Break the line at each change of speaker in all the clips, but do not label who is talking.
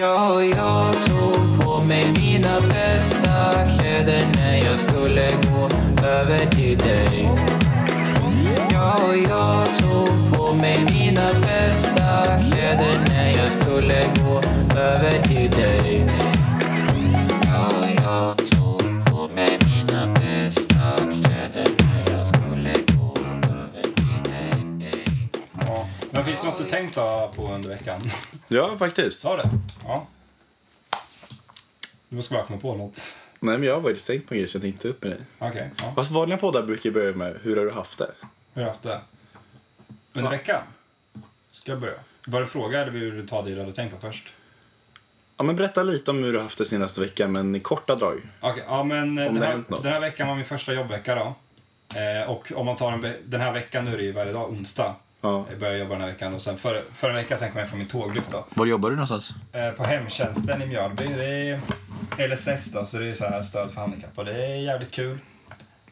Ja, jag tog på mig mina bästa kläder när jag skulle gå över till dig. Ja, jag tog på mig mina bästa kläder när jag skulle gå över till dig. Ja, jag tog på mig mina bästa kläder när jag skulle gå över till dig.
Ja. Men finns det något du tänkt på på under veckan?
Ja, faktiskt.
Sa det? Ja. Du måste bara komma på något.
Nej, men jag har faktiskt tänkt på en grej som jag tänkte ta upp med dig.
Okej. ja.
Fast vanliga poddar brukar börja med hur har du haft det?
Hur har du haft det?
Ja.
Under veckan? Ska jag börja? Var det fråga eller vill du ta det du hade tänkt på först?
Ja, men berätta lite om hur du har haft det senaste veckan, men i korta drag.
Okej, ja men eh,
Om
den
det
här,
hänt något.
den här veckan var min första jobbvecka då. Eh, och om man tar en ve- den här veckan nu är det ju varje dag onsdag.
Ja.
Jag började jobba den här veckan och sen för, för en vecka sen kom jag från min tåglyft då.
Var jobbar du någonstans?
Eh, på hemtjänsten i Mjölby, det är LSS då, så det är så här stöd för handikappade. Det är jävligt kul.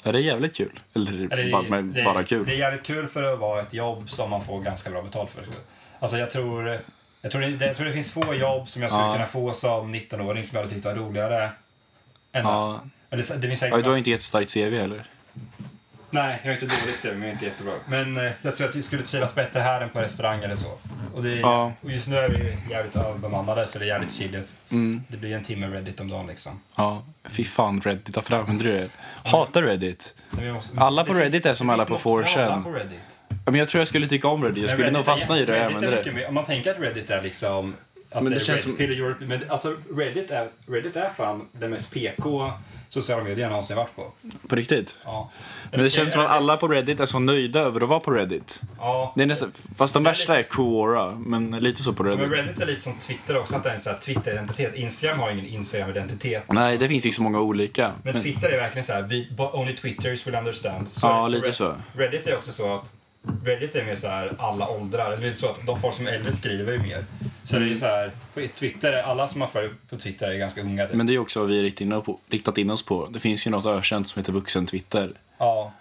Ja, det är jävligt kul. Eller,
Eller
bara, men,
det,
bara kul.
Det är jävligt kul för att vara ett jobb som man får ganska bra betalt för. Alltså jag tror, jag tror, det, jag tror det finns få jobb som jag skulle
Ja.
kunna få som 19-åring som jag hade tyckt var roligare. Än
ja.
Eller, så- det finns säkert
ja, du har ju inte jättestarkt CV heller.
Nej, jag är inte dåligt CV, men jag är inte jättebra. Men eh, jag tror att vi skulle trivas bättre här än på restaurang eller så. Och, det är,
Ja.
och just nu är vi jävligt överbemannade så det är jävligt chilligt.
Mm.
Det blir en timme Reddit om dagen liksom.
Ja, fy fan Reddit, varför använder du det? Hatar Reddit.
Så vi måste-
Alla på
det finns-
Reddit är som alla
finns
på
något
4chan.
Alla på Reddit.
Ja, Men jag tror jag skulle tycka om Reddit, jag skulle
Men
nog
Reddit är-
fastna i det och
Reddit är
använda det.
mycket mer- Om man tänker att Reddit är liksom... Att
Men
det
det
känns
känns
som... Europe, men alltså Reddit är, Reddit är fan den mest PK sociala medier jag någonsin varit på.
På riktigt.
Ja.
Men det känns som att alla på Reddit är så nöjda över att vara på Reddit.
Ja.
Det är nästan, fast de värsta är Quora, men lite så på
Men
Reddit.
Reddit är lite som Twitter också, att det är en så här Twitter-identitet. Instagram har ingen Instagram-identitet.
Nej, det finns ju så många olika.
Men
Men,
Twitter är verkligen så här, "We- but only Twitters will understand. Så
ja,
Red-
lite så.
Reddit är också så att Reddit är mer så här alla åldrar. Eller så att de folk som är äldre skriver ju mer. Så det är ju så här, på Twitter, är- alla som man följer på Twitter är ganska unga. Typ.
Men det är också vad vi riktat in, oss på, riktat in oss på. Det finns ju något ökänt som heter vuxen-Twitter.
Ja,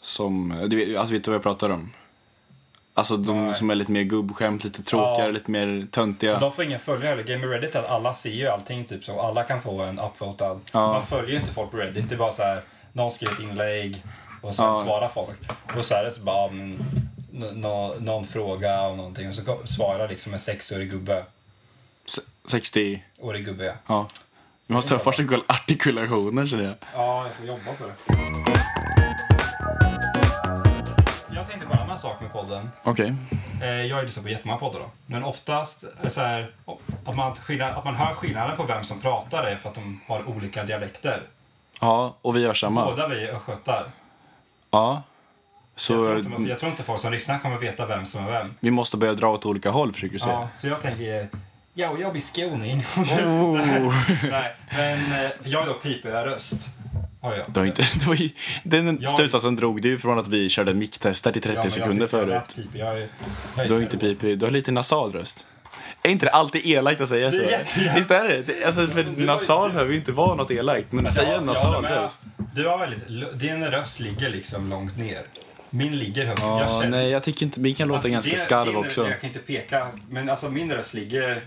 Som, du vet, alltså vet du vad jag pratar om? Alltså de
Nej.
som är lite mer gubbskämt, lite tråkigare,
Ja.
lite mer töntiga.
De får ingen följare heller. Game of Reddit är att alla ser ju allting typ så. Alla kan få en upvotad.
Ja.
Man följer ju inte folk på Reddit. Det är bara så här, någon skriver ett inlägg och sen
Ja.
svarar folk. Och så är det så bara, mm, n- nå- någon fråga om någonting och så ko- svarar liksom en sexårig gubbe.
Se- 60,
Årig gubbe ja.
ja. Vi måste ha första artikulationer känner jag.
Ja, jag får jobba på det. Jag tänkte på en annan sak med podden.
Okej.
Eh, Jag lyssnar på jättemånga poddar då. Men oftast är så här, att, man, skillnad, att man hör skillnaden på vem som pratar är för att de har olika dialekter.
Ja, och vi gör samma.
Båda vi är östgötar.
Ja.
Jag tror,
Så
inte, jag tror inte folk som lyssnar kommer veta vem som är vem.
vi måste börja dra åt olika håll försöker
Ja,
du säga.
så jag tänker, ja, jag blir skåning. Nej, men eh, jag är då pipeläröst. Har jag.
Det var inte, det var ju, den
Jag-
slutsatsen drog du ju från att vi körde micktester i 30
men jag
sekunder
tycker jag
förut.
lät pipig. Jag är- jag är
Du har inte pipig, du har lite nasal röst. Är inte det alltid elakt att säga så?
Det är jätteelakt.
Visst är det? det? Alltså,
men
för
du har ju-
nasal
du-
behöver ju inte vara något elakt, men
Men
säg en
jag- jag håller
nasal
med.
röst.
Du har väldigt, lu- din röst ligger liksom långt ner. Min ligger högt.
Ja,
jag känner-
nej, jag tycker inte, min kan låta
Alltså,
ganska
det-
skarv
din-
också.
Jag kan inte peka, men alltså min röst ligger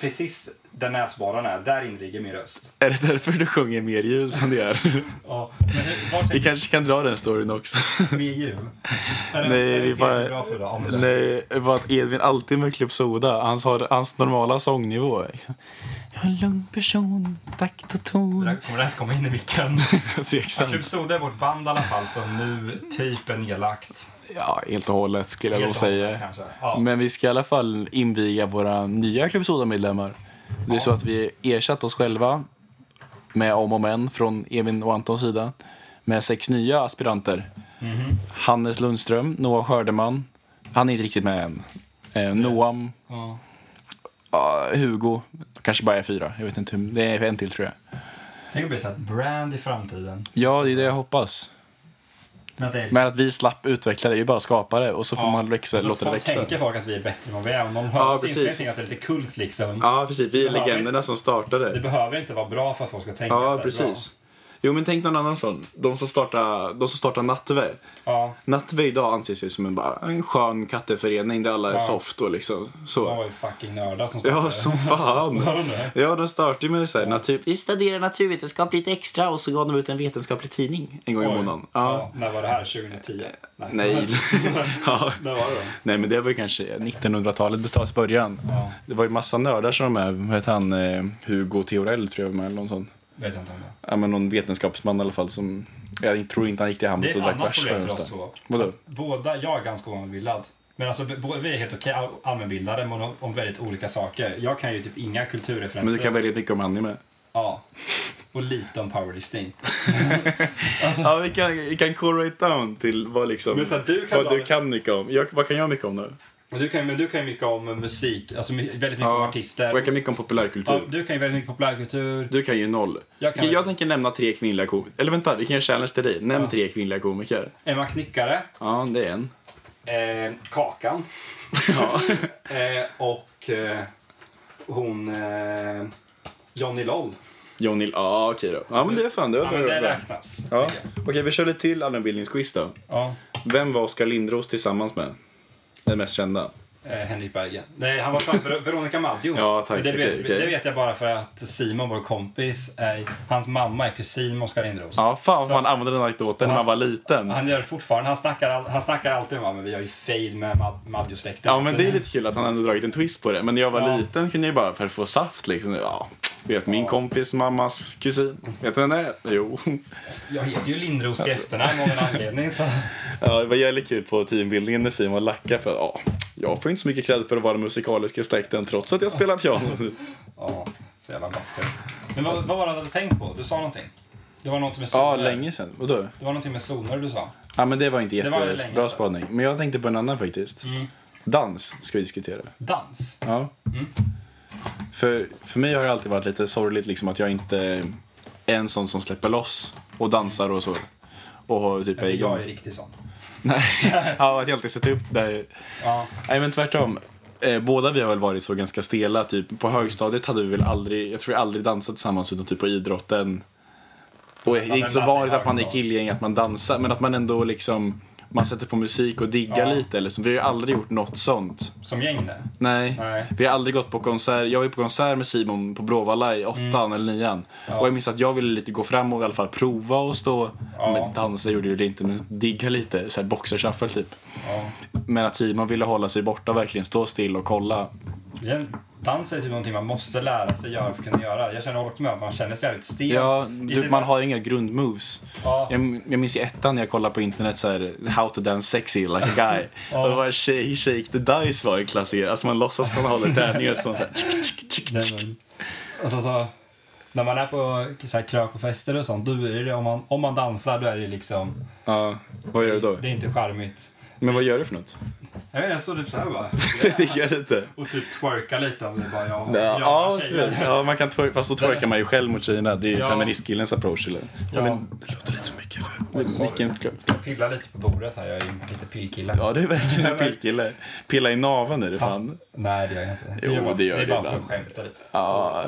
precis där näsborran är. Där in ligger min röst.
Är det därför du sjunger mer ljud som du gör?
Ja, men hur- var
Vi
tänker
kanske kan dra den storyn också.
du med ljud? Är det-
Nej,
är det
vi bara-
bra för idag? Om det-
Nej, det var att Edvin alltid med Club Soda, hans, har- hans normala sångnivå. liksom. Jag är en lugn person, takt och
Det
ton.
där kommer det ens komma in i micken. Club
Tveksamt.
Soda är vårt band i alla fall som nu typ är nedlagt.
Ja, helt och hållet skulle jag nog
Helt och hållet,
säga.
kanske. Ja.
Men vi ska i alla fall inviga våra nya Club Soda-medlemmar. Det är så att vi ersatt oss själva med om och men från Evin och Antons sida med sex nya aspiranter.
Mhm.
Hannes Lundström, Noah Skördeman. Han är inte riktigt med än. Eh, Noam,
Ja.
ja, Hugo. Kanske bara är fyra. Jag vet inte. hur- Det är en till tror jag.
Tänk att bli så här brand i framtiden.
Ja, det är det jag hoppas.
Men att det är
Men att vi slapp utveckla det, vi är bara skapare och så får
Ja.
man växa,
Så
låta det
folk
växa.
tänker folk att vi är bättre än vad vi är. Men de
Ja,
hör oss inte.
precis.
Jag tänker att det är lite kult liksom.
Ja, precis. Vi är
Ja, men-
legenderna som
Det
startade.
behöver inte vara bra för att folk ska tänka
Ja,
att det är bra.
precis. Jo, men tänk någon annan sån. De som startar, de som startar Nattve.
Ja,
Nattve idag anses ju som en, bara, en skön katteförening där alla är
Ja.
soft och liksom
de
så.
var ju fucking nördar som stod
Ja,
där.
som fan.
Var de det?
Ja, de startade ju med så här, typ- natur... Vi studerar naturvetenskap lite extra och så gav de ut en vetenskaplig tidning en gång i
Oj.
månaden. Ja.
Ja, när var det här? 2010?
Nej. ja.
Där var det då.
Nej, men det var ju kanske 1900-talet, början.
Ja,
Det var ju massa nördar som de här, vad heter han, eh, Hugo Theorell tror jag var med eller någon sån.
vet jag inte om det.
Ja, men någon vetenskapsman i alla fall som, jag tror inte han gick till
Det
Hamlet
är
och
ett
drack
annat
bärs
problem
förrän
för
där.
oss två.
Vadå?
Båda, jag är ganska oanbildad. Men alltså, b- båda- vi är helt okej all- allmänbildade men om- om väldigt olika saker. Jag kan ju typ inga kulturreferenser.
Men du kan välja mycket om anime.
Ja. Och lite om powerlifting.
Ja, vi kan, vi kan correlate down till vad liksom,
Men så här, du kan
vad du
dra-
kan mycket om. Jag, vad kan jag mycket om då?
Men du kan, men du kan ju mycket om musik, alltså my- väldigt mycket om artister.
Och jag kan mycket om
ja,
populärkultur.
du kan ju väldigt mycket populärkultur.
Du kan ju noll.
Jag
Jag,
kan-
jag tänker nämna tre kvinnliga komiker. Eller vänta, vi kan göra challenge till dig. Nämn tre kvinnliga komiker.
Emma Knyckare.
Ja, det är en.
Eh, Kakan.
Ja.
Eh, och eh, hon... Eh, Johnny Loll.
Johnny... Ja, okej då. Ja, men det är fan, det var
Ja, men
bra.
det
bra.
räknas.
Ja.
tycker jag.
Okej, vi kör lite till allmänbildningsquiz då.
Ja.
Vem var Oskar Lindros tillsammans med? Den mest kända.
Eh, Henrik Bergen. Nej, han var fan Ver- Veronica Maggio.
Ja,
Men
tack.
Det, vet,
Okej, okej.
det vet jag bara för att Simon, vår kompis, är, hans mamma är kusin med Oskar Lindros.
Ja, fan
Så-
vad man använde den anekdoten när man var liten.
Han gör fortfarande, han snackar, all- han snackar alltid om att vi har ju fejd med Mad- Maggio-släkten.
Ja, men det är lite kul att han ändå dragit en twist på det. Men när jag var
Ja.
liten kunde jag ju bara för att få saft liksom. Ja, vet min kompis mammas kusin. Vet du vem det är? Jo.
Jag heter ju Lindros i efternamn av en anledning. Så.
Ja, det var jävligt kul på teambildningen när Simon lackade för att ja, jag får inte så mycket cred för att vara den musikaliska släkten trots att jag spelar piano.
Ja, så jävla baffe. Men vad, vad var det du hade tänkt på? Du sa någonting. Det var något med
Ja,
zoner.
länge sedan. Vadå?
Det var någonting med zoner du sa.
Ja, men det var inte
Det var väl länge
jättebra
sedan. Mm.
spaning. Men jag tänkte på en annan faktiskt. Dans ska vi diskutera.
Dans.
Ja.
Mm.
För, för mig har det alltid varit lite sorgligt liksom, att jag inte är en sån som släpper loss och dansar och så. Och har typ är
Men
igång.
jag är riktigt sån.
Nej, ja, att jag alltid sett upp där.
Ja.
Nej men tvärtom. Eh, båda vi har väl varit så ganska stela. Typ. På högstadiet hade vi väl aldrig, jag tror vi aldrig dansat tillsammans utom typ på idrotten. Och det är
men
inte så
dans i
vanligt att man är
högstadiet.
killgäng, att man dansar. Men att man ändå liksom, man sätter på musik och diggar
Ja.
lite. Liksom. Vi har ju aldrig gjort något sånt.
Som gäng det.
Nej.
Nej.
Vi har aldrig gått på konsert. Jag var ju på konsert med Simon på Bråvalla i åttan
Mm.
eller nian. Och jag minns att jag ville lite gå fram och i alla fall prova och stå.
Ja.
Men dansa gjorde ju det inte, men digga lite. Såhär boxershuffle typ.
Ja.
Men att Simon ville hålla sig borta och verkligen stå still och kolla.
Igen, Dans är typ någonting man måste lära sig göra för att kunna göra. Jag känner jag håller med att man känner sig jävligt stel.
Ja,
I
du,
sin-
man har inga grundmoves.
Ja.
Jag, jag minns i ettan när jag kollade på internet så här, How to dance sexy like a guy. Och det var shake, shake the dice var en klassiker. Alltså man låtsas man håller tärningar och sånt så här. tsk, tsk, tsk, tsk.
Nej, men- Alltså, så, när man är på så här, krök och fester och sånt, då är det, om, man, om man dansar då är det liksom,
Ja, vad gör du då?
det är inte charmigt.
Men vad gör du för något?
Jag vet, jag står typ så här bara.
det gör du inte.
Och typ twerka lite om det är bara jag och
Ja,
jag
ja,
och
så-
tjejer.
ja, man kan twerka, fast då twerkar man ju själv mot tjejerna. Det är ju
Ja.
feministkillens approach. Eller?
Ja.
det låter lite för mycket för... Vilken...
Jag pillar lite på bordet här, jag är ju lite pillkille.
Ja, det är verkligen en pillkille. Pilla i naveln är det fan.
Nej, det gör jag inte.
Jo,
bara-
det gör
det är
det
bara för att
ibland.
skämta lite.
Ja,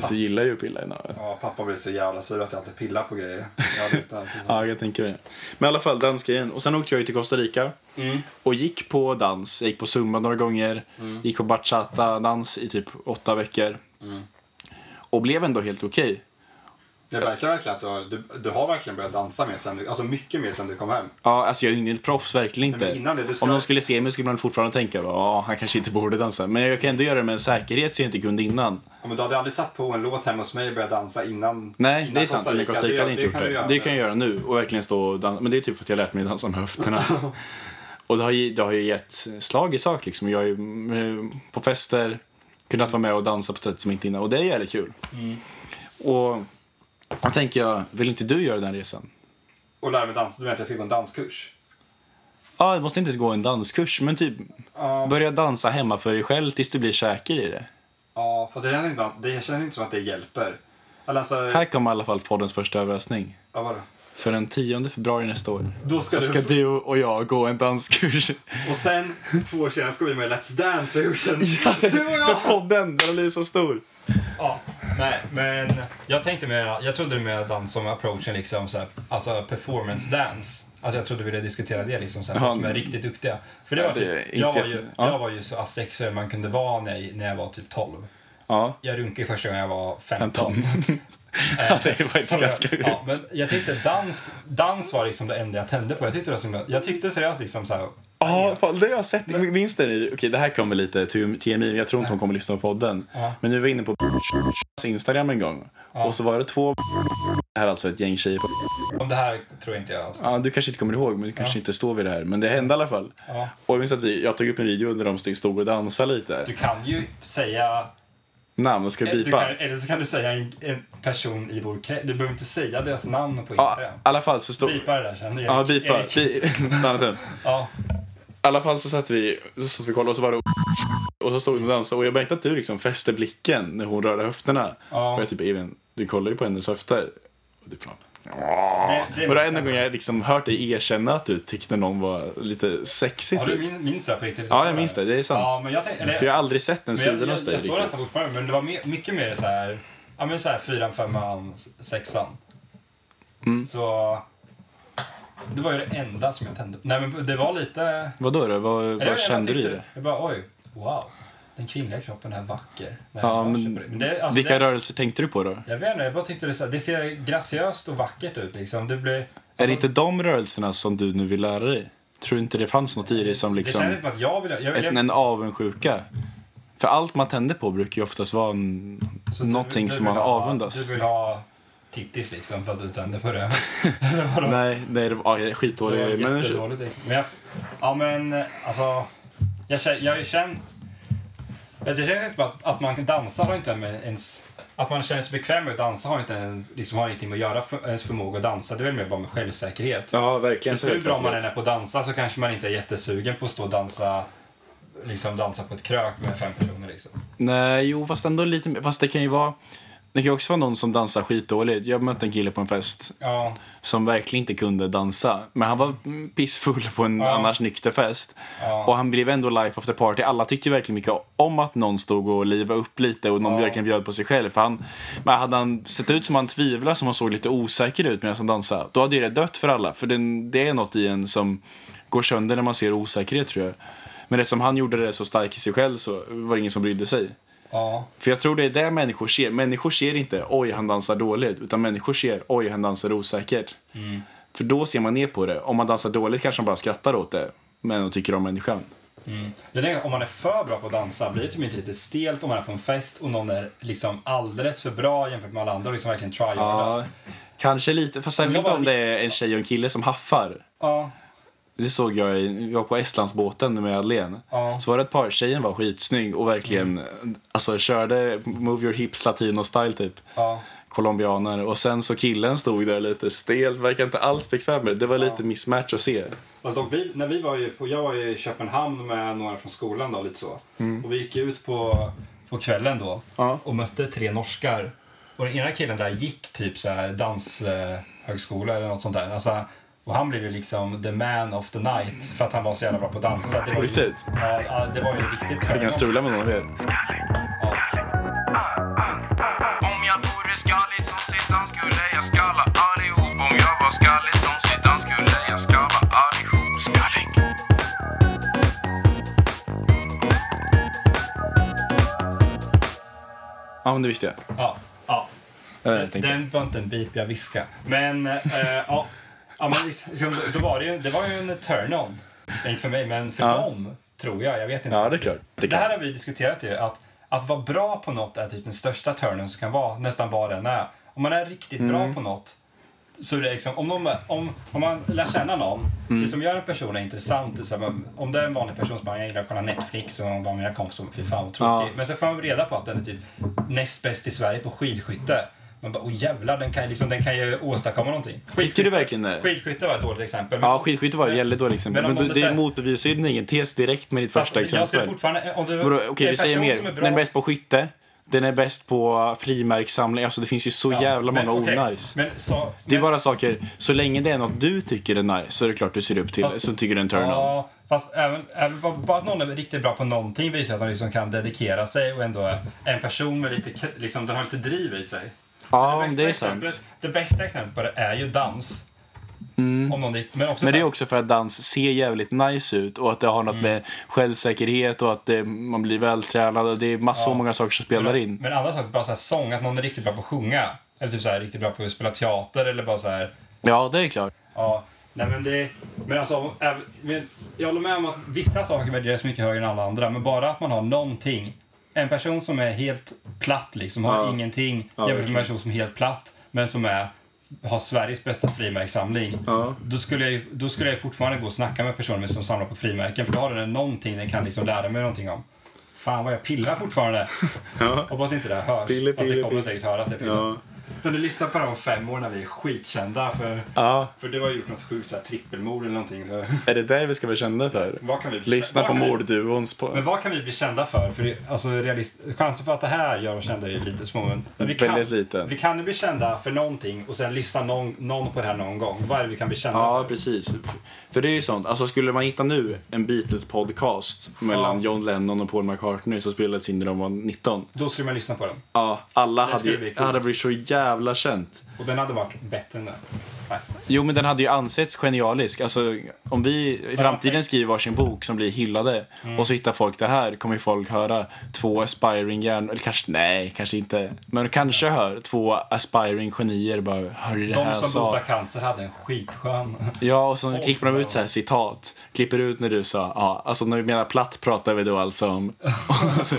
så gillar ju att pilla i naveln.
Ja, pappa blir så jävla sur att jag alltid pillar på grejer. Jag hade inte alltid...
Ja, jag tänker det. Men i alla fall dansgrejen. Och sen åkte jag ju till Costa Rica
Mm.
och gick på dans. Jag gick på zumba några gånger. Gick på bachata-dans i typ åtta veckor.
Mm.
Och blev ändå helt okej.
Det verkar verkligen att du har, du, du har verkligen börjat dansa mer sen du, alltså mycket mer sen du kom hem.
Ja, alltså jag är ingen proffs, verkligen inte.
Nej, men innan det, du ska-
Om någon skulle se mig skulle man fortfarande tänka ja, han kanske inte borde dansa. Men jag kan ändå göra det med en säkerhet som jag inte kunde innan.
Ja, men du hade aldrig satt på en låt hemma hos mig och börjat dansa innan
Nej,
innan
det är sant. Costa Rica, Costa Rica hade inte gjort
kan du
det.
göra.
Det kan jag göra nu och verkligen stå och dansa. Men det är typ för att jag har lärt mig dansa med höfterna. och det har, ju, det har ju gett slag i sak liksom. Jag är ju mm, på fester, kunnat vara med och dansa på ett sätt som inte innan. Och det är jävligt kul.
Mm.
Och då tänker jag, vill inte du göra den resan?
Och lära mig dansa. Du menar att jag ska gå en danskurs?
Ja, ah, jag måste inte ens gå en danskurs, men typ
Ja,
börja dansa hemma för dig själv tills du blir säker i det.
ja fast det känns inte, det känns inte som att det hjälper. Eller alltså,
Här kommer i alla fall poddens första överraskning.
ja, vadå?
För den 10 februari nästa år
Då ska
så
du-
ska du och jag gå en danskurs.
Och sen, två år senare, ska vi med i Let's Dance-version. Du och
För
jag!
podden, den har blivit så stor.
Ja, Nej, men jag tänkte mer, jag trodde mer dans som approachen liksom så här, alltså performance dance. Alltså jag trodde vi ville diskutera det liksom så här,
Ja.
folk som är riktigt duktiga. För det
Ja,
var
det är
typ,
inte
jag var
jätte-
ju,
ja.
jag var ju så asexuell man kunde vara när, jag- när jag var typ 12.
Ja.
Jag runkade första gången jag var 15.
15. Ja, det är faktiskt
Som jag-
ganska sjukt.
ja, men jag tyckte dans, dans var liksom det enda jag tände på. Jag tyckte, det var så, jag tyckte seriöst liksom så här,
Ja, fan, det har jag sett. Minns det ni? Okej, det här kommer lite till TMI, men jag tror inte hon kommer lyssna på podden.
Ja.
Men nu var vi inne på Instagram en gång. Och så var det två det här är alltså ett gäng tjejer. på-
om det här tror jag inte jag...
Ja, du kanske inte kommer ihåg, men du kanske inte står vid det här. Men det hände i alla fall.
Ja.
Och jag minns att vi, jag tog upp en video där de stod och dansade lite.
Du kan ju säga
Namn och ska
Eh, Du
bipa.
kan, eller så kan du säga en, en person i vår krets. Du behöver inte säga deras namn på
Ja,
Instagram.
i alla fall så stod...
Bipa det där sen. Erik.
Ja, bipa.
Erik.
Bi... Danne,
Ja.
I alla fall så satt vi så satt vi och kollade och så var det och så stod hon och dansade och jag märkte att du liksom fäste blicken när hon rörde höfterna.
Ja.
Och jag typ Evin, du kollar ju på hennes höfter. Och du fan.
Det, det är
Och det är
min-
enda gången jag liksom hört dig erkänna att du tyckte någon var lite sexig
Ja, du
typ.
min- minns det här på riktigt?
Ja, jag minns det. Det är sant.
Ja, men jag tänkte... Eller,
För jag har aldrig sett den
men jag,
sidan
jag, jag
hos dig
står nästan
riktigt.
fortfarande, men det var mer, mycket mer så här... Ja, men så här fyran, femman, sexan.
Mm.
Så... Det var ju det enda som jag tände på. Nej, men det var lite...
Vad då? då? Vad,
Eller jag
vad
vet,
kände
jag
du i
tyckte-
det?
Jag bara, oj, wow. Den kvinnliga kroppen är vacker. Nej,
Ja,
jag
men
köper det. det- alltså,
Vilka
det-
rörelser tänkte du på då?
Jag vet inte, jag bara tyckte det, så här, det ser graciöst och vackert ut liksom. Det blir...
Är det inte de rörelserna som du nu vill lära dig? Tror du inte det fanns något i dig som
Det
liksom...
kändes som att jag ville... Jag,
ett,
jag,
en avundsjuka. För allt man tänder på brukar ju oftast vara en,
så du-
någonting
du
som
vill
man
ha-
avundas.
Du vill ha tittis liksom för att du tände på det.
Nej, nej, det var ja,
det var
skitdålig. Men
jättedåligt liksom. Men jag, ja men alltså... Jag, kä- jag känner... alltså, Jag känner inte bara att, att man dansar har inte med ens... Att man känner sig bekväm med att dansa har inte ens, liksom, har ingenting med att göra för ens förmåga att dansa. Det är väl mer bara med självsäkerhet.
Ja, verkligen.
Så hur bra man än är på att dansa så kanske man inte är jättesugen på att stå och dansa, liksom dansa på ett krök med fem personer. Liksom.
Nej, jo, fast ändå lite mer- Fast det kan ju vara... Det kan ju också vara någon som dansar skitdåligt. Jag mötte en kille på en fest
Ja,
som verkligen inte kunde dansa. Men han var mm, pissfull på en
Ja.
annars nykter fest.
Ja.
Och han blev ändå life after party. Alla tyckte verkligen mycket om att någon stod och livade upp lite och någon
Ja.
verkligen bjöd på sig själv. För han, men hade han sett ut som han tvivlade, som han såg lite osäker ut medan han dansade, då hade ju det dött för alla. För den, det är något i en som går sönder när man ser osäkerhet tror jag. Men det som han gjorde det så stark i sig själv så var det ingen som brydde sig.
ja,
För jag tror det är det människor ser. Människor ser inte oj han dansar dåligt utan människor ser oj han dansar osäkert.
Mm.
För då ser man ner på det. Om man dansar dåligt kanske man bara skrattar åt det. Men de tycker om människan.
Jag tänker att om man är för bra på att dansa blir det typ inte lite stelt om man är på en fest och någon är liksom alldeles för bra jämfört med alla andra och liksom verkligen tryharda. Ja.
Ja, kanske lite. Fast särskilt
var
om det är en tjej och en kille som haffar.
Ja.
Det såg jag, i- jag var på Estlandsbåten med Madeleine.
Ja. Mm.
Så var det ett par, tjejen var skitsnygg och verkligen alltså, körde move your hips latino style typ.
ja.
Colombianer. Och sen så killen stod där lite stelt, verkar inte alls bekväm med det. Det var lite mismatch att se.
Fast dock, vi, när vi var ju på, jag var ju i Köpenhamn med några från skolan då, lite så. Och vi gick ut på, på kvällen då
Mm. Ja.
och mötte tre norskar. Och den ena killen där gick typ så här danshögskola eller något sånt där. Alltså, och han blev ju liksom the man of the night för att han var så jävla bra på att dansa. Det var ju,
Riktigt?
Ja, ja, det var ju riktigt
Jag kan strula med någon av er.
Om jag vore skallig som Zidane skulle jag skalla allihop Om jag var skallig som Zidane skulle jag skalla allihop Skallig
Ja, men det visste jag.
Ja, ja.
Jag tänkte.
Den var inte en bip jag viska. Men, eh, ja. ja men liksom, då var det, ju, det var ju en turn-on. Inte för mig, men för
Ja.
dem, tror jag. Jag vet inte.
Ja, det är klart. Det
Det
kan.
här har vi diskuterat ju, att, att vara bra på något är typ den största turnen som kan vara, nästan vad den är. Om man är riktigt
Mm.
bra på något, så är det liksom, om, någon, om, om man lär känna någon,
Mm.
det som gör en person är intressant, det är så här, men om det är en vanlig person som bara, jag gillar att kolla Netflix och vad mina kompisar, fy fan vad tråkig.
Ja.
Men så får man reda på att den är typ näst bäst i Sverige på skidskytte. Man bara, åh jävlar, den kan, ju liksom, den kan ju åstadkomma någonting.
Tycker du verkligen det?
Skidskytte var ett dåligt exempel. men-
Ja, skidskytte var ett väldigt dåligt exempel.
Men
Men,
om
du,
det så
det
här-
motbevisar ju ingen tes direkt med ditt
Fast
första
Jag ska
exempel.
fortfarande, om du,
Vadå,
en
Okej, vi säger
person som är
mer.
bra-
Den är bäst på skytte. Den är bäst på frimärkssamling. Alltså det finns ju så jävla många
men, okej.
onajs.
Men, så,
Det är bara saker, så länge det är något du tycker är nice så är det klart du ser upp till det,
Fast-
som tycker det är en turn-on.
Ja, fast även, även, bara- bara att någon är riktigt bra på någonting visar att de liksom kan dedikera sig och ändå är en person med lite, k- liksom, den har lite driv i sig.
Ja,
bästa
det är
exemplet-
sant.
Det bästa exemplet på det är ju dans. Om någon, men också
Mm. Men det är
så-
också för att dans ser jävligt nice ut och att det har något
Mm.
med självsäkerhet och att det, man blir vältränad och det är massor
Ja.
många saker som spelar
men,
in.
Men andra saker, bara så här, sång, att någon är riktigt bra på att sjunga. Eller typ så här, riktigt bra på att spela teater eller bara så här.
Ja, det är klart.
Ja, nej men det... Men alltså, om- även- men jag håller med om att vissa saker värderas mycket högre än alla andra, men bara att man har någonting. En person som är helt platt liksom, har
Ja.
ingenting
Ja,
jämfört med en
verkligen.
person som är helt platt, men som är har Sveriges bästa frimärkssamling.
Ja.
Då, skulle jag, ju- då skulle jag ju fortfarande gå och snacka med personer som samlar på frimärken för då har den någonting den kan liksom lära mig någonting om. Fan vad jag pillar fortfarande. Hoppas inte det här hörs.
Pille,
Fast det
pille,
kommer
pille.
säkert höra att det pillar.
Ja.
Kunde lyssna på det om fem år när vi är skitkända för,
Ja.
för du har gjort något sjukt så här, trippelmord eller någonting. Så,
Är det det vi ska vara kända för?
vad kan vi bli
Lyssna
vad
på
kan vi-
mordduons
Men
på...
vad kan vi bli kända för? för det, alltså, realist, chansen för att det här gör oss kända är ju lite små. Men men vi kan,
Väldigt liten.
Vi kan ju bli kända för någonting och sen lyssna någon, någon på det här någon gång. Vad är det vi kan bli kända
Ja,
för?
precis. F- För det är ju sånt, alltså skulle man hitta nu en Beatles-podcast mellan
Ja.
John Lennon och Paul McCartney som spelades in när de var 19.
Då skulle man lyssna på den.
Ja, alla hade,
skulle
ju-
bli coolt.
hade blivit så jävla känt.
Och den hade varit bättre än den. Nej.
Jo, men den hade ju ansetts genialisk. Alltså, om vi i framtiden skriver varsin bok som blir hyllade och så hittar folk det här kommer ju folk höra två aspiring hjärn... Eller kanske, nej, kanske inte. Men kanske hör två aspiring genier bara hörde det här
De
jag
som
sa.
botar cancer hade en skitskön...
Ja, och så klipper de ut så här citat. Klipper ut när du sa, ja, alltså när vi menar platt pratar vi då alltså om... Och så-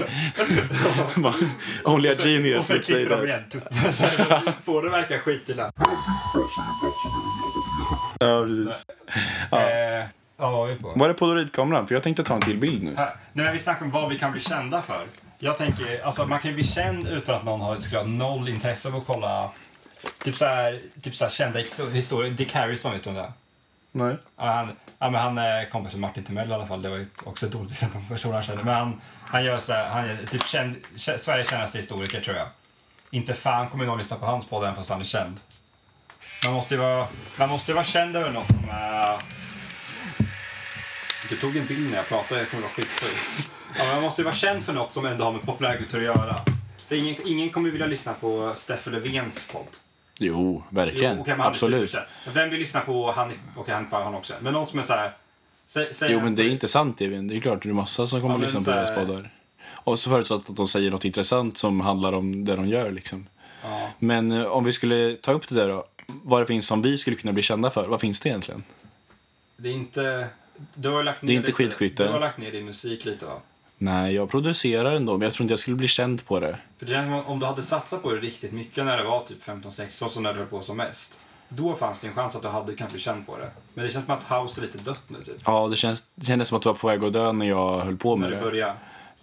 bara, Only a
och
genius
sen
would say
klipper de
that.
igen tutten. Får det verka skitilla.
Ja, precis.
Eh, ja, vad var vi på?
Var det polaroidkameran? För jag tänkte ta en till bild nu.
Här. Nu när vi snackar om vad vi kan bli kända för. Jag tänker, alltså man kan ju bli känd utan att någon har, skulle ha noll intresse av att kolla typ så här, typ så här kända ex- historier. Dick Harrison, vet du om det är?
Nej.
Ja, han, ja, men han är kompis med Martin Timell i alla fall. Det var ju också ett dåligt exempel på personer han känner. Men han, han gör så här, han är typ känd, kä- Sveriges kändaste historiker tror jag. Inte fan kommer någon lyssna på hans podd än fast han är känd. Man måste ju vara, man måste ju vara känd över något äh. som är... Du tog en bild när jag pratade, jag kommer vara skitfull. Ja, men man måste ju vara känd för något som ändå har med populärkultur att göra. För ingen, ingen kommer vilja lyssna på Steffo Löfvens podd.
Jo, verkligen.
Jo, okej, men han är
Absolut.
superkänd. Men Vem vill lyssna på han och han, han också? Men någon som är så här... Sä, säg
Jo, men det är inte sant, Evin. Det är klart, det är massa som kommer
Ja,
att
men
lyssna
så
på
här-
deras poddar. Och så förutsatt att de säger något intressant som handlar om det de gör. Liksom.
Ja.
Men eh, om vi skulle ta upp det där då. Vad det finns som vi skulle kunna bli kända för. Vad finns det egentligen?
Det är inte... Du har ju lagt ner
Det är inte
lite-
skitskytte.
Du har lagt ner din musik lite, va?
Nej, jag producerar ändå, men jag tror inte jag skulle bli känd på det.
För det är som om du hade satsat på det riktigt mycket när det var typ 15-16, så när du höll på som mest. Då fanns det en chans att du hade kanske känt på det. Men det känns som att house är lite dött nu, typ.
Ja, det, känns, det kändes som att det var på väg att dö när jag höll på
När
med
du
det.
började.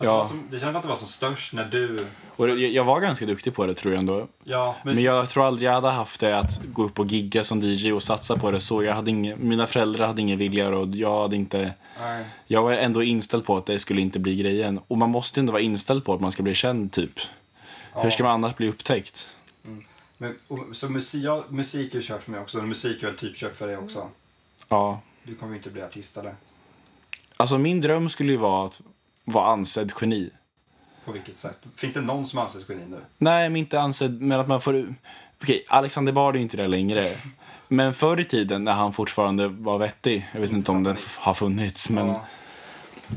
Att
Ja.
det var som- Det känns som att det var som störst när du...
Och jag, jag var ganska duktig på det, tror jag ändå.
Ja, men,
Men jag tror aldrig jag hade haft det att gå upp och gigga som DJ och satsa på det så. Jag hade inga, mina föräldrar hade ingen vilja och jag hade inte...
Nej.
Jag var ändå inställd på att det skulle inte bli grejen. Och man måste ändå vara inställd på att man ska bli känd, typ. Hur ska man annars bli upptäckt?
Men, och, så musik, ja, musik är ju kört för mig också. Musik är väl typ kört för dig också.
Ja.
Du kommer ju inte bli artist, eller?
Alltså, min dröm skulle ju vara att vara ansedd geni.
På vilket sätt? Finns det någon som anses geni nu?
Nej, men inte ansedd, men att man får... Okej, Alexander Bard är ju inte det längre. Men förr i tiden, när han fortfarande var vettig, jag vet inte om den f- har funnits, men...
Ja.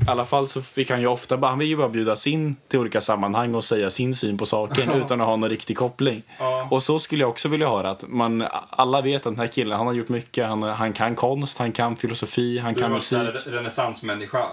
I alla fall så fick han ju ofta bara, han vill ju bara bjudas in till olika sammanhang och säga sin syn på saken utan att ha någon riktig koppling.
Ja.
Och så skulle jag också vilja ha det, att man, alla vet att den här killen, han har gjort mycket, han, han kan konst, han kan filosofi, han
Du
kan
är
musik.
en renässansmänniska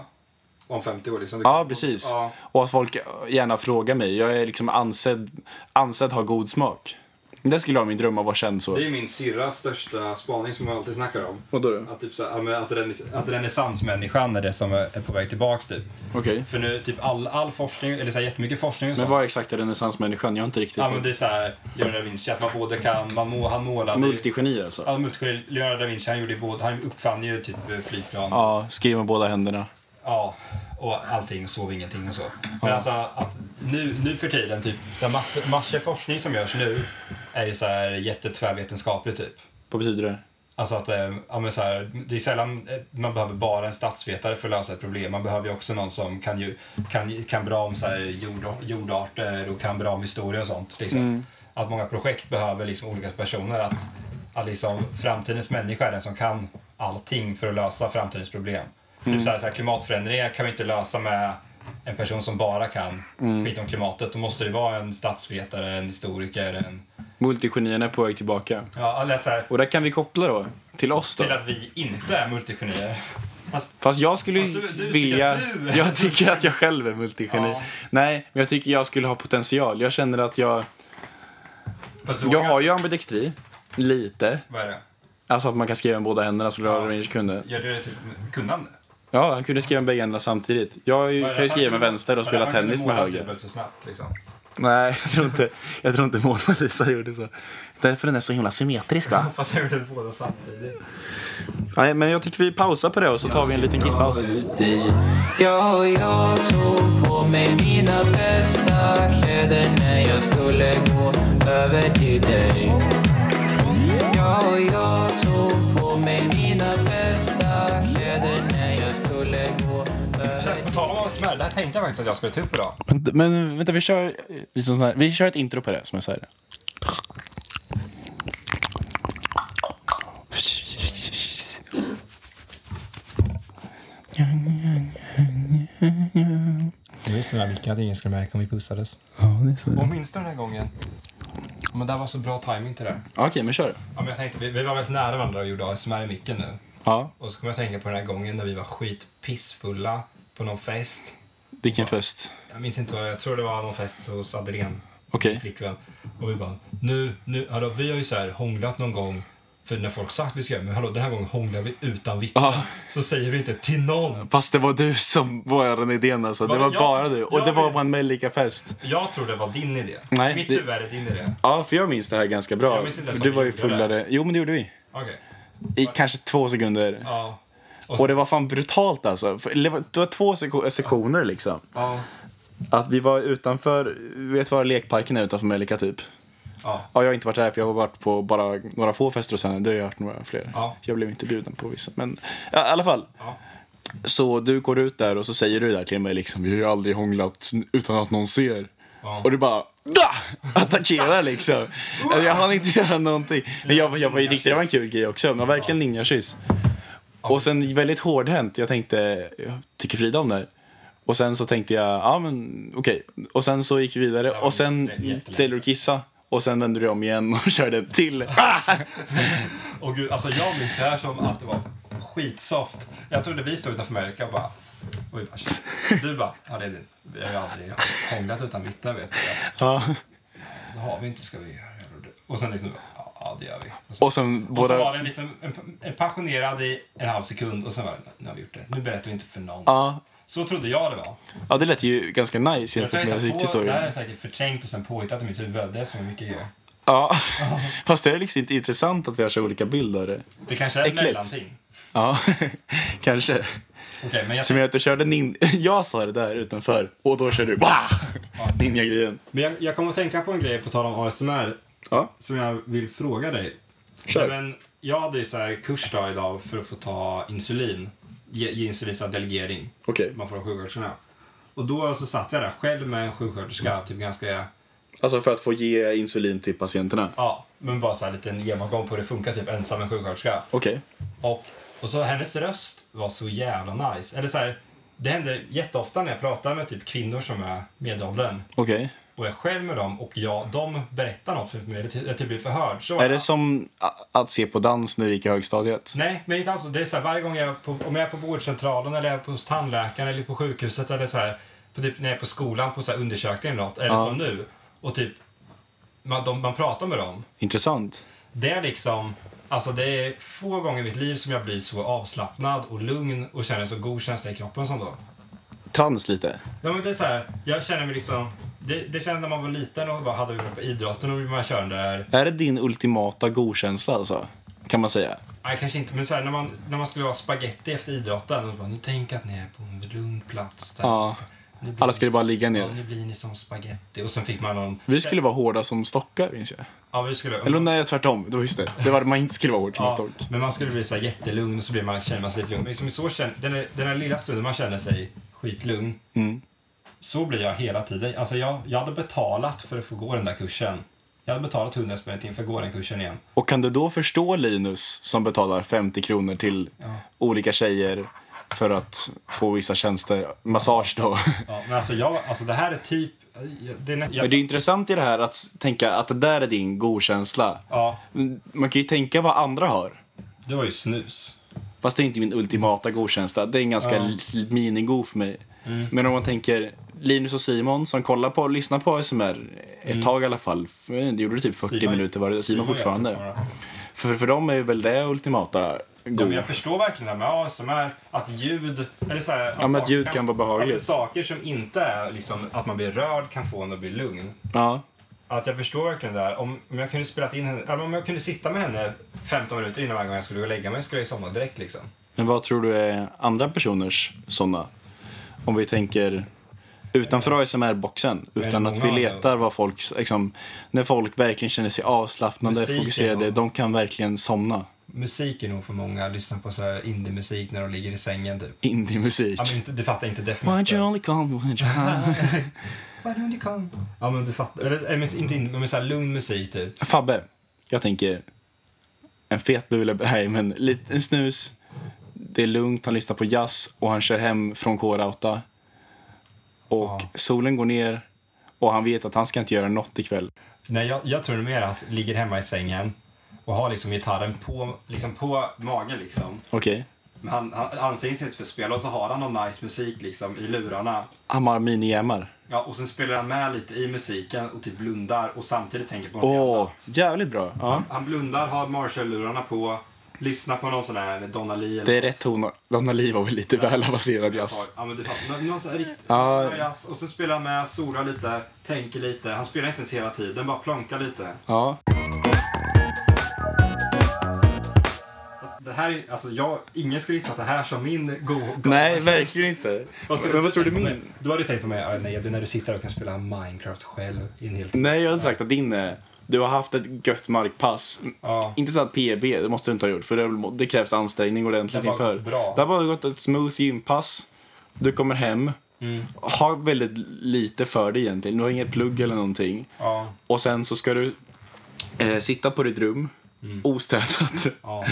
om 50 år. Liksom. Du
Ja,
kan-
precis.
Ja.
Och att folk gärna frågar mig, jag är liksom ansedd, ansedd ha god smak. Det skulle jag min dröm att vara känd så.
Det är min syrras största spaning som jag alltid snackar om.
Vadå då?
Att, typ så här, ja, men att, renäss- att renässansmänniskan är det som är är på väg tillbaks typ.
Okej.
För nu, typ all, all forskning, eller så här, jättemycket forskning och
Men
sånt.
vad är exakt är renässansmänniskan? Jag har inte riktigt
Ja, men
ja,
det är så här, Leonardo da Vinci, att man både kan, man må, han målade.
Multigeni alltså?
Ja, multigeni. Leonardo da Vinci, han gjorde ju både, han uppfann ju typ eh, flygplan.
Ja, skriv med båda händerna.
Ja. och allting och sov ingenting och så. Men alltså att nu, nu för tiden, typ, så här massor, massor forskning som görs nu är ju så här jättetvärvetenskaplig typ.
Vad betyder det?
Alltså att, eh, ja, men så här, det är sällan eh, man behöver bara en statsvetare för att lösa ett problem. Man behöver ju också någon som kan, ju, kan, kan bra om så här, jord, jordarter och kan bra om historia och sånt. Liksom. Att många projekt behöver liksom, olika personer. Att, att liksom, framtidens människa är den som kan allting för att lösa framtidens problem. Typ så här, så här, klimatförändringar kan vi inte lösa med en person som bara kan skit om klimatet. Då måste det vara en statsvetare, en historiker, en...
Multigenierna är på väg tillbaka.
Ja, eller så här,
Och där kan vi koppla då till oss då.
till att vi inte är multigenier. Fast
Fast jag skulle ju
Fast du- du tycker
vilja...
att du är-
Jag tycker att jag själv är multigeni.
Ja.
Nej, men jag tycker jag skulle ha potential. Jag känner att jag...
Fast
Jag har ju ambidextri. Lite.
Vad är det?
Alltså att man kan skriva med båda händerna så rör man sig kunde.
Gör du det typ till kunnande?
Ja, han kunde skriva med bägge händerna samtidigt. Jag är ju- kan ju skriva med vänster och spela tennis med höger.
Dubbelt så snabbt liksom.
Nej, jag tror inte, jag tror inte Mona Lisa gjorde så. Därför den är så himla symmetrisk va?
Fast jag gjorde båda samtidigt.
Nej, men jag tycker vi pausar på det och så tar vi en liten kisspaus.
Ja, jag tog på mig mina bästa kläder när jag skulle gå över till dig. Ja, jag tog på mig mina bästa kläder när jag skulle gå över
På tal om att smälla, det här tänkte jag faktiskt att jag skulle ta upp idag.
Men, men vänta, vi kör, vi, som sån här, vi kör ett intro på det som jag säger.
Det är sådär mycket att ingen skulle märka om vi pussades. Och minns du den här gången? Ja, Men det här var så bra timing till det. här.
Ja, Okej, men kör.
Ja, men jag tänkte, vi, vi var väldigt nära varandra och gjorde ASMR i micken nu.
Ja,
Och så kom jag att tänka på den här gången när vi var skitpissfulla på någon fest.
vilken fest.
Jag minns inte vad, jag tror det var någon fest hos Adrian.
Okej.
flickvän. Och vi bara, nu, nu, hallå, vi har ju så här hånglat någon gång. För när folk sagt vi ska göra, men hallå den här gången hånglar vi utan vittnen.
Ja.
Så säger vi inte till någon.
Fast det var du som var den idén alltså. Det
Var det
var
jag?
bara du. Och
Jag
det var
vet.
på en Mellika-fest.
Jag tror det var din idé.
Nej,
Mitt
det-
huvud är det din idé.
Ja, för jag minns det här ganska bra.
Jag minns inte
För
ens
du
om
var
vi
ju
gjorde det.
fullare. Jo, men det gjorde vi.
Okej.
I kanske två sekunder.
Ja.
Och det var fan brutalt alltså. För- Det var, det var två seko- sektioner liksom.
Ja.
Att vi var utanför, vet du vad lekparken är utanför Mellika typ?
Ja.
Ja, jag har inte varit där för jag har varit på bara några få fester och sen, det har jag hört några fler.
Ja.
Jag blev inte bjuden på vissa, men ja, i alla fall.
Ja.
Så du går ut där och så säger du där till mig liksom, vi har ju aldrig hånglat utan att någon ser.
Ja.
Och du bara da! attackerar liksom. Alltså, Jag hann inte göra någonting. Men jag, jag, jag, tyckte det var en kul grej också, men verkligen ninjakyss. Och sen väldigt hårdhänt, jag tänkte, jag tycker Frida om det här? Och sen så tänkte jag, ja men okej. Och sen så gick vi vidare
var
och sen
jättelänge sedan.
säger du kissa. Och sen vände du om igen och körde en till. Ah!
Och gud, alltså jag minns det här som att det var skitsoft. Jag trodde vi stod utanför Amerika och bara... Och vi bara shit. Du bara, ja det är din. Vi har ju aldrig hånglat utan vittnen vet du.
Ja.
Det har vi inte, ska vi göra. Jag trodde- Och sen liksom, ja, ja det gör vi. Och så,
Och sen
och så var
våra...
det en liten en, en passionerad i en halv sekund och sen var det, nu har vi gjort det. Nu berättar vi inte för någon.
Ja,
Så trodde jag det var.
ja, det lät ju ganska nice
Jag
jämfört med
tänkte på, det här är
historien.
säkert förträngt och sen påhittat i mitt huvud. Det är så mycket grejer.
Ja. Fast det är liksom inte intressant att vi har så olika bilder av det.
Det kanske är ett
Äckligt.
mellanting.
Ja, kanske.
Okej, men jag
Som gör att du körde nin... Jag sa det där utanför och då körde du bah! Ninja-grejen.
Men jag, jag kommer att tänka på en grej på tal om ASMR
Ja,
som jag vill fråga dig.
Kör.
Men jag hade ju så här kurs då idag för att få ta insulin. Ge, ge insulin så här delegering.
okej.
Man får av sjuksköterskorna. Och då så satt jag där själv med en sjuksköterska, typ ganska,
Alltså för att få ge insulin till patienterna.
ja, men bara så här liten genomgång på hur det funkar, typ ensam med en sjuksköterska.
Okej.
Och, och så hennes röst var så jävla nice. Eller så här, det händer jätteofta när jag pratar med typ kvinnor som är medelåldern
Okej.
och jag är själv med dem och jag, de berättar något för mig. Jag typ blir förhörd. Så
Är det som a- att se på dans när du gick i högstadiet?
Nej, men inte alls. Det är så här, varje gång jag är på, om jag är på vårdcentralen eller jag är hos tandläkaren eller på sjukhuset eller så här, på typ, när jag är på skolan på så här undersökning eller något, eller som nu, och typ man, de, man pratar med dem.
Intressant.
Det är liksom, alltså det är få gånger i mitt liv som jag blir så avslappnad och lugn och känner så god känsla i kroppen som då.
Trans lite.
Ja men det är så här, jag känner mig liksom, det, det kändes när man var liten och bara hade på idrotten och man körde den där
Är det din ultimata godkänsla alltså? Kan man säga.
Nej, kanske inte. Men så här, när, man, när man skulle ha spaghetti efter idrotten. Och så bara, nu tänk att ni är på en lugn plats. Där.
Ja.
Nu blir
Alla
ni
skulle
som-
bara ligga
Ja,
ner.
nu blir ni som spaghetti. Och sen fick man någon...
Vi skulle vara hårda som stockar, minns jag.
Ja, vi skulle...
Eller nej, tvärtom. Det var just det. Det var man inte skulle vara hård som en
Ja,
stock.
men man skulle bli så här jättelugn och så blir man, känner man sig lite lugn. Men Liksom så känner, den, där, den där lilla stunden man känner sig skitlugn,
Mm.
så blir jag hela tiden. Alltså jag, jag hade betalat för att få gå den där kursen. Jag hade betalat 100 spänn i timmen för att gå den kursen igen.
Och kan du då förstå Linus som betalar 50 kronor till olika tjejer för att få vissa tjänster? Massage då.
Ja, men alltså, jag, alltså det här är typ... Det är, nä-
Men det är
jag,
intressant i det här att tänka att det där är din godkänsla.
ja,
Man kan ju tänka vad andra har.
det var ju snus.
Fast det är inte min ultimata
Mm.
godkänsla. Det är en ganska ja. minigod för mig. Men om man tänker Linus och Simon som kollar på, lyssnar på ASMR ett tag i alla fall. Det gjorde det typ 40
Mm. Simon-
minuter varje. Simon,
Det var jag
fortfarande. För, för dem är väl det ultimata
Ja,
god.
men jag förstår verkligen det här med ASMR, att ljud... Eller så här, att
men att
saker
ljud kan vara behagligt.
Att saker som inte är liksom, att man blir rörd kan få en att bli lugn.
Ja.
Att jag förstår verkligen det där. Om, om jag kunde spela in henne, eller om jag kunde sitta med henne 15 minuter innan varje gång jag skulle gå och lägga mig skulle jag ju somna direkt liksom.
Men vad tror du är andra personers sådana? Om vi tänker utanför ASMR-boxen, utan
många
att vi
av dem.
letar vad folk, liksom, när folk verkligen känner sig avslappnade,
Musiken,
fokuserade,
ja.
de kan verkligen somna.
Musik är nog för många, lyssna på så här indie-musik när de ligger i sängen typ.
Indie-musik.
Ja, men inte, du fattar inte
Why'd you
definitivt.
only call me when you're high?
Why don't you come? Ja men du fattar, eller eller, men inte indie, men så här lugn musik typ.
Fabbe, jag tänker en fet bula, nej men lite, en snus, det är lugnt, han lyssnar på jazz och han kör hem från kårauta. Och
Ja.
solen går ner och han vet att han ska inte göra något ikväll.
Nej, jag, jag tror mer att han ligger hemma i sängen och har liksom gitarren på, liksom på magen liksom.
Okej?
Men han, han anstränger sig inte för att spela och så har han någon nice musik liksom i lurarna.
Han har mini-EMR.
Ja, och sen spelar han med lite i musiken och typ blundar och samtidigt tänker på något
Åh,
annat.
jävligt bra. Ja.
Han blundar, har Marshall-lurarna på, lyssnar på någon sån här Donna Lee eller
Det är rätt ton. Donna Lee var väl lite väl avancerad jazz.
Ja, men du fattar. Nå- Någon sån här riktig
Ja.
någon jazz. Och sen spelar han med, solar lite, tänker lite. Han spelar inte ens hela tiden, bara plankar lite.
Ja.
Det här är, alltså jag, ingen skulle gissa att det här som min go, go
Nej, verkligen inte.
Och så-
Men vad tror du min?
Nej, Då har du tänkt på mig, ah, nej, det är när du sitter och kan spela Minecraft själv i en hel...
Nej, jag hade sagt att din är... Du har haft ett gött markpass.
Ja.
Inte så att PB, det måste du inte ha gjort. För det, är väl- det krävs ansträngning ordentligt
Det har
inför.
gått bra.
Det har bara gått ett smooth gympass. Du kommer hem.
Mm,
Har väldigt lite för dig egentligen. Du har inget plugg eller någonting.
Ja,
Och sen så ska du eh, sitta på ditt rum. Ostädat.
ja,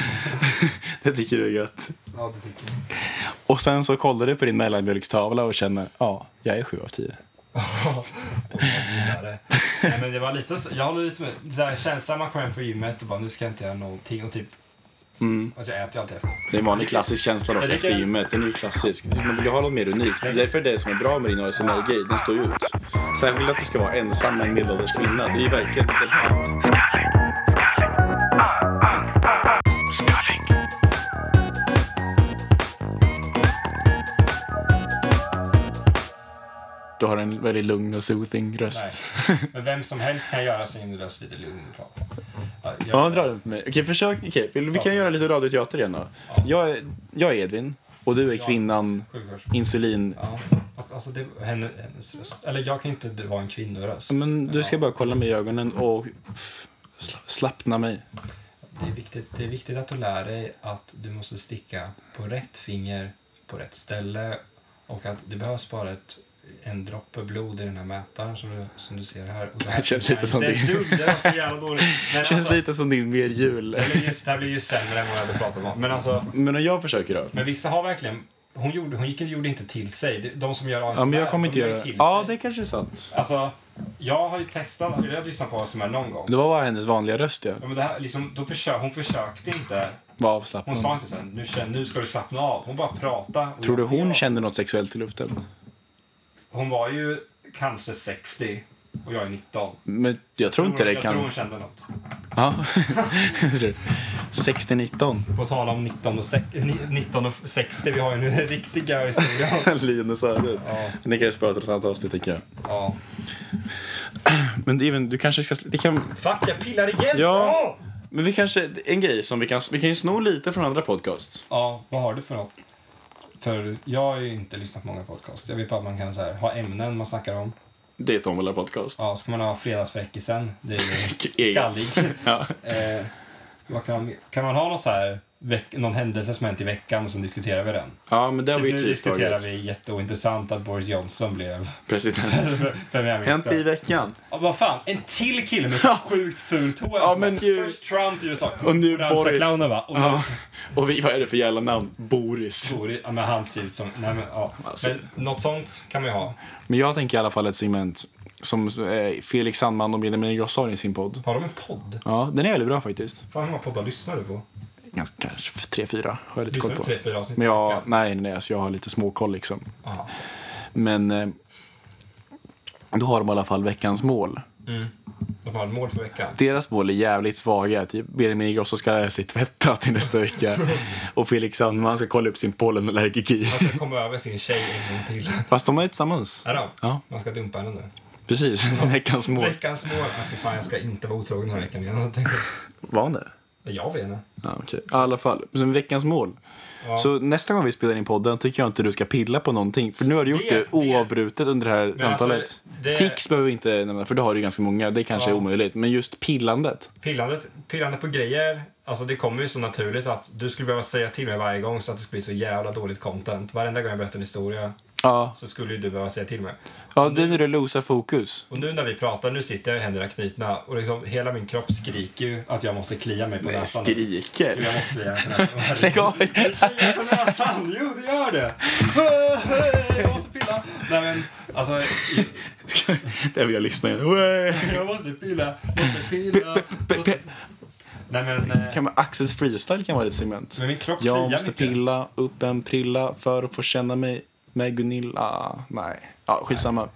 det tycker du är gött.
ja, det tycker jag.
Och sen så kollar du på din mellanmjölkstavla och känner, ja, jag är 7 av 10.
vidare. Nej, men det var lite så, jag håller lite med. Det där känslan man kommer hem från gymmet och bara nu ska jag inte göra någonting och typ...
Mm.
Alltså jag äter ju alltid efter.
Det är en vanlig klassisk känsla dock
Jag tycker-
efter gymmet. Den är ju klassisk. Man vill ju ha något mer unikt. Det är därför det som är bra med din ASMR-grej, den står ju ut. Särskilt att du ska vara ensam med en medelålders kvinna. Det är ju verkligen belönt.
Skallig, skallig, ah, ah, ah, ah. Skallig,
Du har en väldigt lugn och soothing
Nej.
röst.
Men vem som helst kan göra så länge du röst lite lugn och prat. Ja, jag-
Ja, dra den för mig. Okej, försök. Okej, vill- vi kan göra lite radioteater igen då. Jag är, jag är Edvin och du är kvinnan
Sjukvårds-
insulin.
Ja, fast, alltså det, henne, hennes röst. Eller jag kan ju inte vara en kvinnoröst.
Men du ska bara kolla mig i ögonen och f- sla- slappna mig.
Det är, viktigt, det är viktigt att du lär dig att du måste sticka på rätt finger på rätt ställe och att det behövs bara ett, en droppe blod i den här mätaren som du, som du ser här. Och det här
Det känns lite som
det.
det.
är dugg, Det var så jävla dåligt. Men
Känns
alltså,
lite som din mer jul.
Det, blir just, det här blir ju sämre än vad jag hade pratat om. Men, alltså,
Men om jag försöker då?
men vissa har verkligen... Hon, gjorde, hon gick, gjorde inte till sig. Det- De som gör ASMR,
Ja, men jag kommer inte
de gör
göra
till
det. Ja,
sig.
det kanske är sant.
Alltså, jag har ju testat, eller jag har lyssnat på ASMR någon gång.
Det var bara hennes vanliga röst, ja.
Ja, men det här, liksom, då försö, hon försökte inte
Var
Hon
avslappnad.
sa inte sen, nu, känn- nu ska du slappna av. Hon bara pratade. och
Tror du
jag-
hon
jag-
kände något sexuellt i luften?
Hon var ju kanske 60 och jag är 19.
Men jag tror inte det
Jag tror
kan...
hon kände något.
Ja. 60-19.
På tal om 19 och, sek- ni- 19 och 60, vi har ju nu den riktiga historien.
Linus Öhrud. Det kanske pratar ett annat avsnitt, tänker jag.
Ja.
Men Even, du kanske ska... Det kan...
Fuck, jag pillar igen!
Ja.
Åh!
Men vi kanske, en grej som vi kan, vi kan ju sno lite från andra podcasts.
Ja, vad har du för något? För jag har ju inte lyssnat på många podcast. Jag vet bara att man kan så här, ha ämnen man snackar om.
Det är Tombola podcast.
Ja, ska man ha fredagsfräckisen? Det är ju
Eget.
skallig.
Ja.
Eh, vad kan, man, kan man ha någon, så här, veck, någon händelse som hänt i veckan och sen diskuterar vi den?
ja, men det har vi
nu
ju typ
diskuterar
tagit.
vi jätteointressant att Boris Johnson blev
President. Hänt i
premiärminister.
veckan.
Ja, vad fan, en till kille med så sjukt fult hår.
Ja, men ju-
Först Trump i USA,
Och nu
orangea
Boris.
clownen va? Och nu
Ja. Och vi, vad är det för jävla namn? Boris.
Boris, ja, men han ser ut som... Nej, men, ja.
Alltså.
men något sånt kan man ju ha.
Men jag tänker i alla fall ett segment som eh, Felix Sandman och Benjamin Ingrosso har i sin podd.
Har de en podd?
Ja, den är väldigt bra faktiskt.
Fan, hur många poddar lyssnar du på?
Ganska, kanske f- tre, fyra har jag lite koll
Lyssnar du
på.
tre, fyra avsnitt?
Men
i
jag,
veckan?
nej, nej, alltså jag har lite småkoll liksom.
Ja.
Men eh, då har de i alla fall veckans mål.
De har mål för veckan.
Deras mål är jävligt svaga. Typ Benjamin Ingrosso ska göra sig tvätta till nästa vecka. Och Felix Sandman ska kolla upp sin pollenallergi.
Man ska komma över sin tjej en gång till.
Fast de är ju tillsammans.
Är det?
Ja.
Man ska dumpa henne nu.
Precis, veckans mål.
Veckans mål. Ja, för fan, jag ska inte vara otrogen den här veckan igen. Jag tänker-
Var han det?
Jag vet inte.
Ja, okej. I alla fall, som veckans mål.
Ja.
Så nästa gång vi spelar in podden tycker jag inte du ska pilla på någonting. För nu har du gjort
Det-
det,
det-
oavbrutet under det här
Men alltså,
antalet.
det-
Tics behöver vi inte nämna, för det har du ganska många. Det kanske
Ja.
är omöjligt. Men just pillandet.
Pillandet, pillandet på grejer, alltså det kommer ju så naturligt att du skulle behöva säga till mig varje gång så att det skulle bli så jävla dåligt content. Varenda gång jag berättar en historia
Ja,
så skulle ju du behöva säga till mig.
ja det är när du losar fokus.
Och nu när vi pratar, nu sitter jag i händerna knutna och liksom hela min kropp skriker ju att jag måste klia mig på
Nej,
näsan. Jo,
skriker.
Jag måste klia mig på näsan.
Lägg av.
Kliar på näsan! Jo, det gör det! Jag måste pilla. Nej, men alltså,
Det vill jag lyssna igen. Wee!
jag måste pilla, måste pilla. Måste... Nej, men, eh,
Kan man, Axels freestyle kan vara ett segment.
men min kropp kliar
Jag måste
mycket.
pilla upp en prilla för att få känna mig med Gunilla. Nej, ja, skitsamma.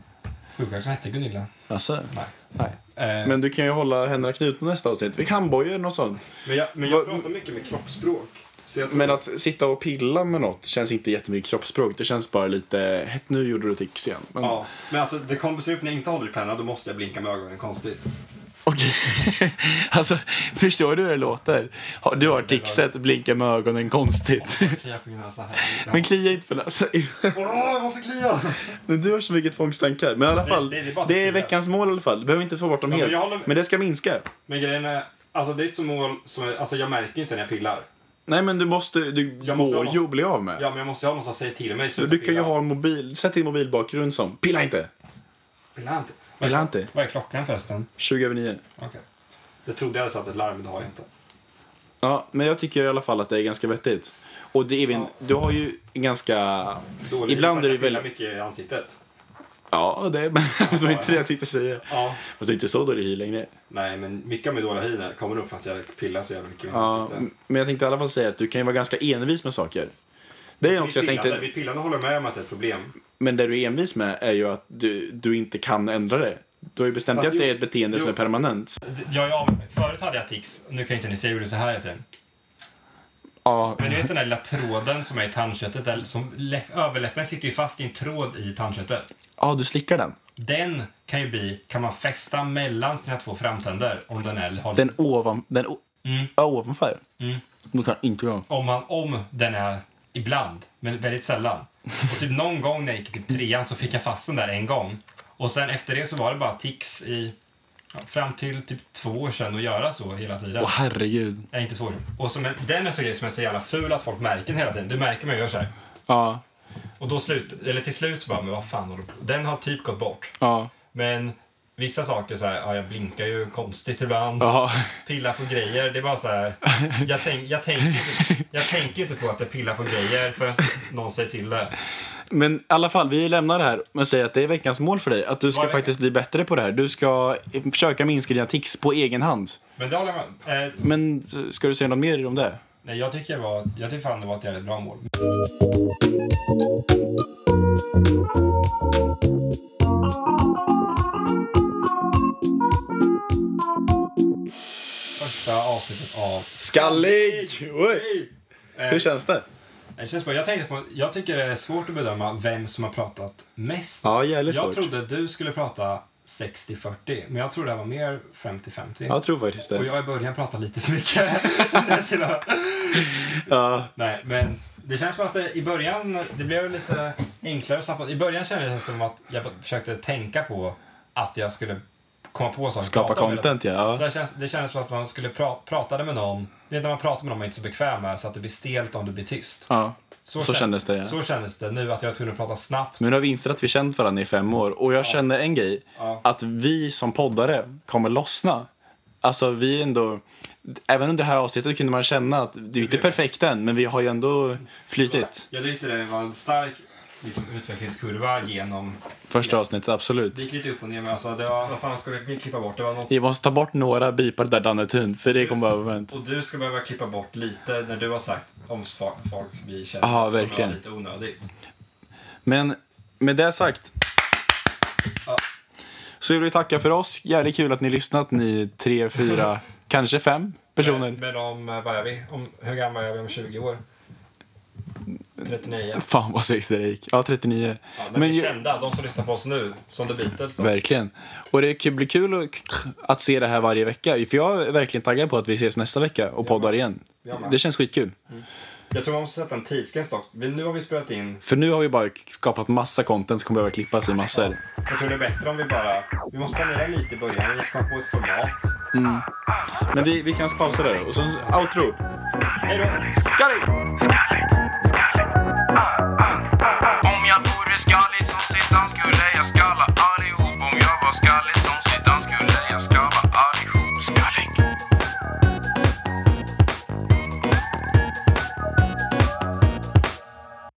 Sjuksköterskan hette Gunilla. Eh,
Alltså,
Nej.
nej.
Eh,
Men du kan ju hålla händerna knutna nästa avsnitt. Vi kan handbojor eller något sånt.
Men jag, men jag
Vad-
pratar mycket med kroppsspråk. Så jag tror,
Men att sitta och pilla med något känns inte jättemycket kroppsspråk. Det känns bara lite, "Hett, nu gjorde du tics igen. Men,
ja. men alltså, det kommer se ut när jag inte håller i pennan, då måste jag blinka med ögonen konstigt.
Okej.
Alltså, förstår du hur det låter? Har- Du har tixet, blinka med ögonen konstigt.
Klia på min näsa här.
Men klia inte på näsan.
Åh, jag måste klia!
alltså. Men du har så mycket tvångstankar. Men i alla fall,
det- det är
det,
bara
är,
att klia.
veckans mål i alla fall. Du behöver inte få bort dem
Ja, men
helt.
jag
Men,
håller-
det ska minska.
Men grejen är, alltså det är ett som mål som, jag- alltså jag märker ju inte när jag pillar.
Nej men du måste, du
Jag måste
går
ha-
ju att bli av med.
Ja, men jag måste ju ha någon som säger till mig.
Du,
sluta
du kan ju
pilla.
ha en mobil, sätt din mobilbakgrund som pilla inte.
Pilla inte.
Pilla inte.
Vad är klockan förresten?
20 över 9.
Okej. Det trodde jag hade satt ett larm, men det har jag inte.
Ja, men jag tycker i alla fall att det är ganska vettigt. Och det är Evin, du har ju ganska...
Dåligt
Ibland
för
är
att
det
jag pillar
väldigt...
mycket i ansiktet.
Ja, det det var inte det jag tänkte säga.
Ja.
Fast det är inte så dålig hy längre.
Nej, men mycket av min dåliga hy kommer nog för att jag pillar så jävla mycket i mitt
Ja,
ansikte.
m- men jag tänkte i alla fall säga att du kan ju vara ganska envis med saker. Det är också jag
Mitt pillande,
tänkte,
mitt pillande håller jag med om att det är ett problem.
men det du är envis med är ju att du, du inte kan ändra det. Du har ju bestämt dig
Fast
att det
jo,
är ett beteende som
jo.
är permanent.
Jag är av mig. Förut hade jag tics. Nu kan ju inte ni se hur det så här heter.
Ja,
Men ni vet den där lilla tråden som är i tandköttet? Där, som, lä- överläppen sitter ju fast i en tråd i tandköttet.
ja du slickar den.
Den kan ju bli, kan man fästa mellan sina två framtänder om den är, har,
Den ovan... Den o-
Mm.
ja, ovanför? Då kan jag inte göra.
om, man, om den är ibland, men väldigt sällan. Och typ någon gång när jag gick i typ trean så fick jag fast den där en gång. Och sen efter det så var det bara tics i, ja, fram till typ två år sedan att göra så hela tiden.
Åh herregud.
Nej, inte svår. Och som en, den är så grej som är så jävla ful att folk märker den hela tiden. Du märker mig och gör så här.
Ja,
Och då slut, eller till slut så bara, men vad fan har du på? Den har typ gått bort.
ja,
Men vissa saker så här, ja jag blinkar ju konstigt ibland.
ja.
Pillar på grejer, det är bara så här. Jag, tänk, jag, tänker inte, jag tänker inte på att jag pillar på grejer förrän någon säger till det.
Men i alla fall, vi lämnar det här men säger att det är veckans mål för dig. Att du
Vad
ska
är
faktiskt bli bättre på det här. Du ska eh, försöka minska dina tics på egen hand.
Men det håller jag med eh,
Men eh, ska du säga något mer om det?
Nej, jag tycker, det var, jag tycker fan det var ett jävligt bra mål. Första avsnittet av...
Skallig! Oj.
Eh,
Hur känns det?
det känns bra. Jag, tänkte på, jag tycker det är svårt att bedöma vem som har pratat mest.
Ja, jävligt
jag
svårt.
trodde du skulle prata 60-40, men jag tror det var mer 50-50.
Jag tror faktiskt
Och
det.
jag i början pratade lite för mycket. Till att-
Ja,
Nej, men det känns som att det, i början, det blev lite enklare samtal. I början kändes det som att jag försökte tänka på att jag skulle komma på saker.
skapa
prata om hela
content, ja.
det, känns, det kändes som att man skulle pra, pratade med någon. Det är när man pratar med någon man är inte så bekväm med så att det blir stelt om det blir tyst.
ja. Så
kän-
kändes det, ja.
Så kändes det nu att jag var tvungen att prata snabbt.
Men nu har vi insett att vi känt varandra i fem år och jag känner en grej.
Ja.
Att vi som poddare kommer lossna. Alltså vi är ändå, även under det här avsnittet kunde man känna att det är inte perfekt än men vi har ju ändå flytit.
Jag tyckte det var en stark liksom, utvecklingskurva genom...
Första avsnittet,
Det gick
absolut.
lite upp och ner men alltså det var... Vad fan ska vi klippa bort? Det var något
Vi måste ta bort några bipar där Danne Thun för det kommer behöva vänt.
Och du ska behöva klippa bort lite när du har sagt om fa- folk vi känner
Ja,
som
verkligen.
var lite onödigt.
Men med det sagt.
Ja.
Så vill vi tacka för oss. Jävligt kul att ni lyssnat ni tre, fyra, kanske fem personer.
Men, men om, eh, vad är vi? Om, hur gamla är vi om 20 år? 39?
Fan vad segt det gick. Ja, 39.
Ja, men, vi
ju-
kända, de som lyssnar på oss nu, som The Beatles då.
Verkligen. Och det k- blir kul att- att se det här varje vecka. För jag är verkligen taggad på att vi ses nästa vecka och poddar igen.
Jag med.
Det känns skitkul.
Jag tror man måste sätta en tidsgräns dock. Vi, nu har vi spelat in,
För nu har vi bara skapat massa content som kommer behöva klippas i massor.
jag tror det är bättre om vi bara, vi måste planera lite i början, vi måste komma på ett format.
Men vi, vi kan pausa där och så outro.
Hej då!
Ska det!
Skallig!